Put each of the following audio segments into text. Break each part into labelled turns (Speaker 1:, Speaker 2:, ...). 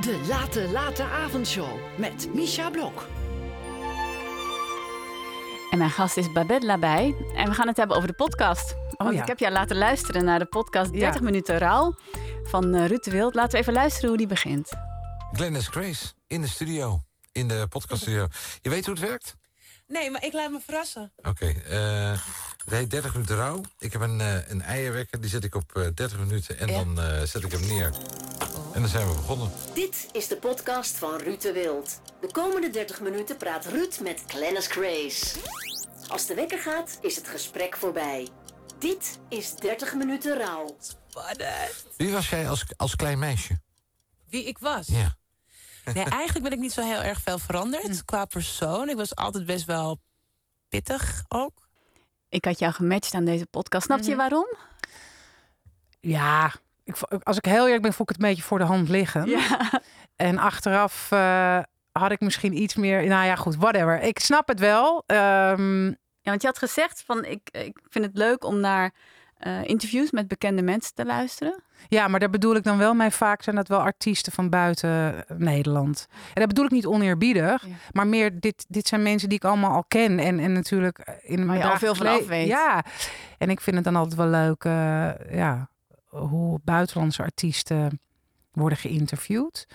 Speaker 1: De Late Late Avondshow met Misha Blok.
Speaker 2: En mijn gast is Babette Labai. En we gaan het hebben over de podcast. Want
Speaker 3: Oh ja.
Speaker 2: ik heb jou laten luisteren naar de podcast
Speaker 3: Ja.
Speaker 2: 30 minuten rouw van eh, Ruud de Wild. Laten we even luisteren hoe die begint.
Speaker 4: Glennis Grace in de studio. In de podcaststudio. Je weet hoe het werkt?
Speaker 5: Nee, maar ik laat me verrassen.
Speaker 4: Oké. eh het heet 30 minuten rauw. Ik heb een, eh, een eierwekker. Die zet ik op eh, 30 minuten. En dan eh, zet ik hem neer. En dan zijn we begonnen.
Speaker 6: Dit is de podcast van Ruud de Wild. De komende 30 minuten praat Ruud met Glennis Grace. Als de wekker gaat, is het gesprek voorbij. Dit is 30 minuten rouw.
Speaker 5: Spannend.
Speaker 4: Wie was jij als, als klein meisje?
Speaker 5: Wie ik was.
Speaker 4: Ja.
Speaker 5: Nee, eigenlijk ben ik niet zo heel erg veel veranderd
Speaker 3: Hm.
Speaker 5: qua persoon. Ik was altijd best wel pittig ook.
Speaker 2: Ik had jou gematcht aan deze podcast. Snap
Speaker 3: Mhm.
Speaker 2: je waarom?
Speaker 3: Ja, ik, vo- als ik heel eerlijk ben, vond ik het een beetje voor de hand liggen.
Speaker 2: Ja.
Speaker 3: En achteraf eh, had ik misschien iets meer... Nou ja, goed, whatever. Ik snap het wel. Ehm,
Speaker 2: Ja, want je had gezegd van ik, ik vind het leuk om naar eh, interviews met bekende mensen te luisteren.
Speaker 3: ja, maar daar bedoel ik dan wel mee vaak... zijn dat wel artiesten van buiten eh, Nederland. En dat bedoel ik niet oneerbiedig.
Speaker 2: Ja.
Speaker 3: Maar meer, dit, dit zijn mensen die ik allemaal al ken. En, en natuurlijk eh, in mijn
Speaker 2: je al
Speaker 3: dagelijks
Speaker 2: veel van
Speaker 3: le-
Speaker 2: af weet.
Speaker 3: Ja, en ik vind het dan altijd wel leuk... eh, ja, hoe buitenlandse artiesten... worden geïnterviewd.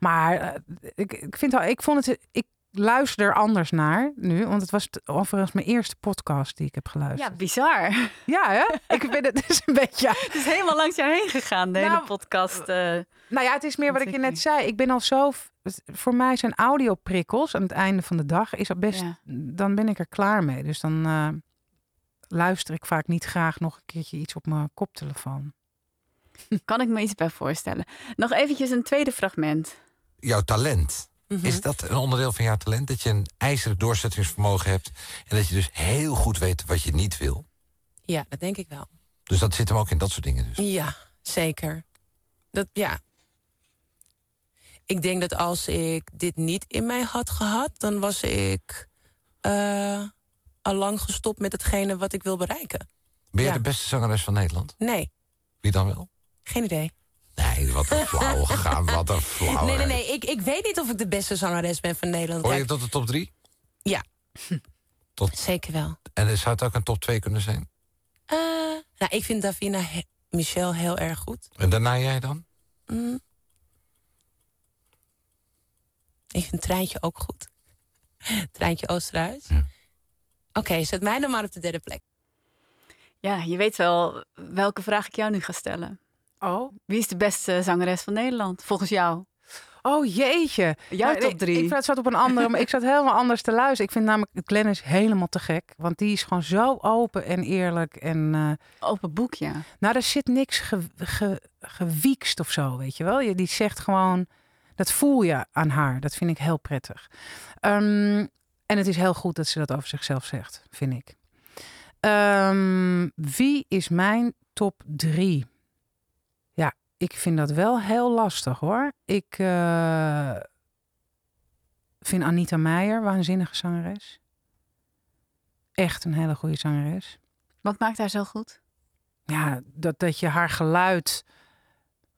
Speaker 3: Maar eh, ik, ik, vind, wel- ik vond het. Ik luister er anders naar nu. Want het was t- overigens mijn eerste podcast die ik heb
Speaker 2: Ja,
Speaker 3: geluisterd.
Speaker 2: bizar.
Speaker 3: Ja, hè? ik ben het dus een beetje.
Speaker 2: Het is helemaal langs jou heen gegaan, de hele
Speaker 3: Nou,
Speaker 2: podcast. eh.
Speaker 3: Nou ja, het is meer wat ik je net zei. Ik ben al zo. v- het- Voor mij zijn audioprikkels aan het einde van de dag. Is dat best.
Speaker 2: Ja.
Speaker 3: Dan ben ik er klaar mee. Dus dan eh, luister ik vaak niet graag nog een keertje iets op mijn koptelefoon.
Speaker 2: Kan ik me iets bij voorstellen. Nog eventjes een tweede fragment.
Speaker 4: Jouw talent.
Speaker 5: Mhm.
Speaker 4: Is dat een onderdeel van jouw talent? Dat je een ijzeren doorzettingsvermogen hebt. En dat je dus heel goed weet wat je niet wil.
Speaker 5: Ja, dat denk ik wel.
Speaker 4: Dus dat zit hem ook in dat soort dingen. Dus.
Speaker 5: Ja, zeker. Dat, ja. Ik denk dat als ik dit niet in mij had gehad, dan was ik eh allang gestopt met hetgene wat ik wil bereiken.
Speaker 4: Ben jij
Speaker 5: Ja.
Speaker 4: de beste zangeres van Nederland?
Speaker 5: Nee,
Speaker 4: Wie dan wel?
Speaker 5: geen idee.
Speaker 4: Nee, wat een flauw gaan. Wat een flauw.
Speaker 5: Nee, nee, nee. Ik, ik weet niet of ik de beste zangeres ben van Nederland.
Speaker 4: Oh, Hoor je
Speaker 5: Kijk,
Speaker 4: tot de top 3?
Speaker 5: Ja.
Speaker 4: Tot,
Speaker 5: Zeker wel.
Speaker 4: en er zou het ook een top 2 kunnen zijn.
Speaker 5: Eh, nou, ik vind Davina he- Michel heel erg goed.
Speaker 4: En daarna jij dan?
Speaker 5: Mm. Ik vind Treintje ook goed. Treintje Oosterhuis.
Speaker 4: Ja.
Speaker 5: Oké, zet mij dan maar op de derde plek.
Speaker 2: Ja, je weet wel welke vraag ik jou nu ga stellen.
Speaker 3: Oh,
Speaker 2: Wie is de beste zangeres van Nederland, volgens jou?
Speaker 3: oh jeetje.
Speaker 2: Jouw
Speaker 3: Nou,
Speaker 2: top
Speaker 3: ik-
Speaker 2: drie.
Speaker 3: Ik, zat op een andere, maar ik zat helemaal anders te luisteren. Ik vind namelijk Glennis helemaal te gek. Want die is gewoon zo open en eerlijk. En eh,
Speaker 2: Open boek, ja.
Speaker 3: nou, daar zit niks ge, ge- gewiekst of zo, weet je wel. Je, die zegt gewoon, dat voel je aan haar. Dat vind ik heel prettig. Ehm, en het is heel goed dat ze dat over zichzelf zegt, vind ik. Ehm, wie is mijn top drie? Ja, ik vind dat wel heel lastig hoor. Ik eh, vind Anita Meijer, waanzinnige zangeres. Echt een hele goede zangeres
Speaker 2: Wat maakt haar zo goed?
Speaker 3: ja, dat, dat je haar geluid.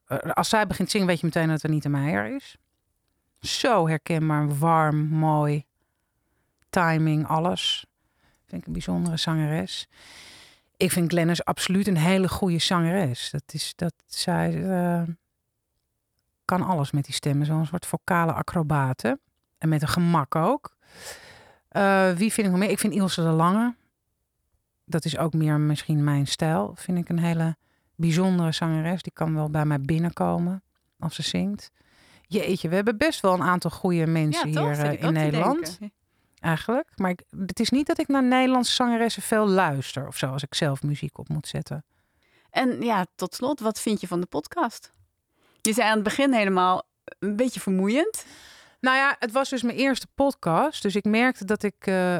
Speaker 3: eh, Als zij begint te zingen, weet je meteen dat het niet de Meijer is. Zo herkenbaar, warm, mooi. Timing, alles. Vind ik een bijzondere zangeres. Ik vind Glennis absoluut een hele goede zangeres. Dat is dat zij eh, kan alles met die stemmen. Zo'n soort vocale acrobaten. En met een gemak ook. Eh, wie vind ik nog meer? Ik vind Ilse de Lange dat is ook meer misschien mijn stijl. Vind ik een hele bijzondere zangeres. Die kan wel bij mij binnenkomen als ze zingt. Jeetje, we hebben best wel een aantal goede mensen hier
Speaker 2: Zit
Speaker 3: eh,
Speaker 2: ik
Speaker 3: in
Speaker 2: ook te
Speaker 3: Nederland
Speaker 2: denken.
Speaker 3: eigenlijk. Maar ik, het is niet dat ik naar Nederlandse zangeressen veel luister of zo, als ik zelf muziek op moet zetten.
Speaker 2: En ja, tot slot, wat vind je van de podcast? Je zei aan het begin helemaal een beetje vermoeiend.
Speaker 3: Nou ja, het was dus mijn eerste podcast, dus ik merkte dat ik. eh,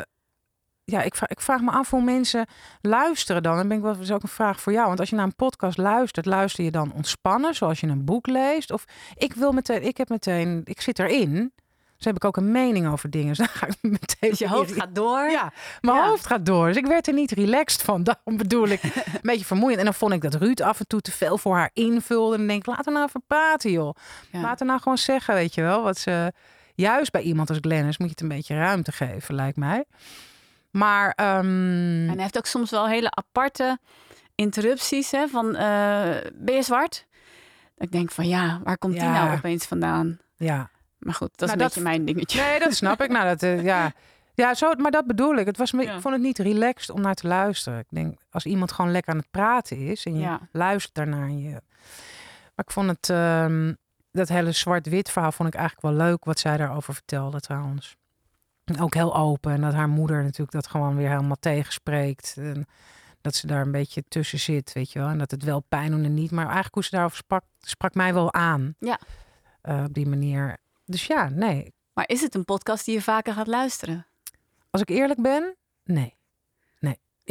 Speaker 3: ja, ik vraag, ik vraag me af hoe mensen luisteren dan. En ben ik wel dat is ook een vraag voor jou. Want als je naar een podcast luistert, luister je dan ontspannen, zoals je een boek leest? Of ik wil meteen, ik heb meteen, ik zit erin. Dus heb ik ook een mening over dingen. Dus dan ga ik meteen.
Speaker 2: Dus je hoofd gaat door.
Speaker 3: Ja, mijn
Speaker 2: Ja.
Speaker 3: hoofd gaat door. Dus ik werd er niet relaxed van. Daarom bedoel ik, een beetje vermoeiend. En dan vond ik dat Ruud af en toe te veel voor haar invulde. En dan denk ik, laat haar nou even praten, joh.
Speaker 2: Ja.
Speaker 3: Laat haar nou gewoon zeggen, weet je wel. Wat ze, juist bij iemand als Glennis moet je het een beetje ruimte geven, lijkt mij. Maar ehm,
Speaker 2: En hij heeft ook soms wel hele aparte interrupties. Hè, van, eh, ben je zwart? Dat Ik denk van ja, waar komt die
Speaker 3: Ja.
Speaker 2: nou opeens vandaan?
Speaker 3: ja.
Speaker 2: Maar goed, dat is een
Speaker 3: Nou, dat-
Speaker 2: beetje mijn dingetje.
Speaker 3: Nee, dat snap ik. Nou, dat, eh, ja. Ja, zo, maar dat bedoel ik. Het was me,
Speaker 2: Ja.
Speaker 3: Ik vond het niet relaxed om naar te luisteren. Ik denk, als iemand gewoon lekker aan het praten is en je
Speaker 2: Ja.
Speaker 3: luistert daarnaar. en Je... Maar ik vond het, ehm, dat hele zwart-wit verhaal vond ik eigenlijk wel leuk wat zij daarover vertelde trouwens. En Ook heel open en dat haar moeder natuurlijk dat gewoon weer helemaal tegenspreekt. En dat ze daar een beetje tussen zit, weet je wel. En dat het wel pijn doet en niet. Maar eigenlijk hoe ze daarover sprak, sprak mij wel aan.
Speaker 2: Ja.
Speaker 3: Eh, op die manier. Dus ja, nee,
Speaker 2: Maar is het een podcast die je vaker gaat luisteren?
Speaker 3: als ik eerlijk ben, nee.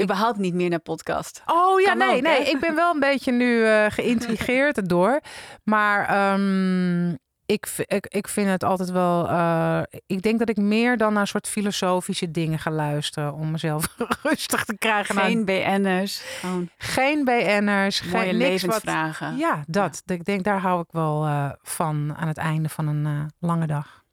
Speaker 2: Überhaupt niet meer naar podcast.
Speaker 3: Oh ja,
Speaker 2: Kan
Speaker 3: nee,
Speaker 2: ook,
Speaker 3: nee.
Speaker 2: hè?
Speaker 3: Ik ben wel een beetje nu eh geïntrigeerd erdoor. Maar ehm, ik, v- ik, ik vind het altijd wel. eh, ik denk dat ik meer dan naar soort filosofische dingen ga luisteren. Om mezelf rustig te krijgen. Nou,
Speaker 2: Geen BN'ers. Gewoon
Speaker 3: geen BN'ers,
Speaker 2: mooie
Speaker 3: geen niks wat.
Speaker 2: levensvragen.
Speaker 3: Ja, dat. Ik denk daar hou ik wel eh, van aan het einde van een eh, lange dag.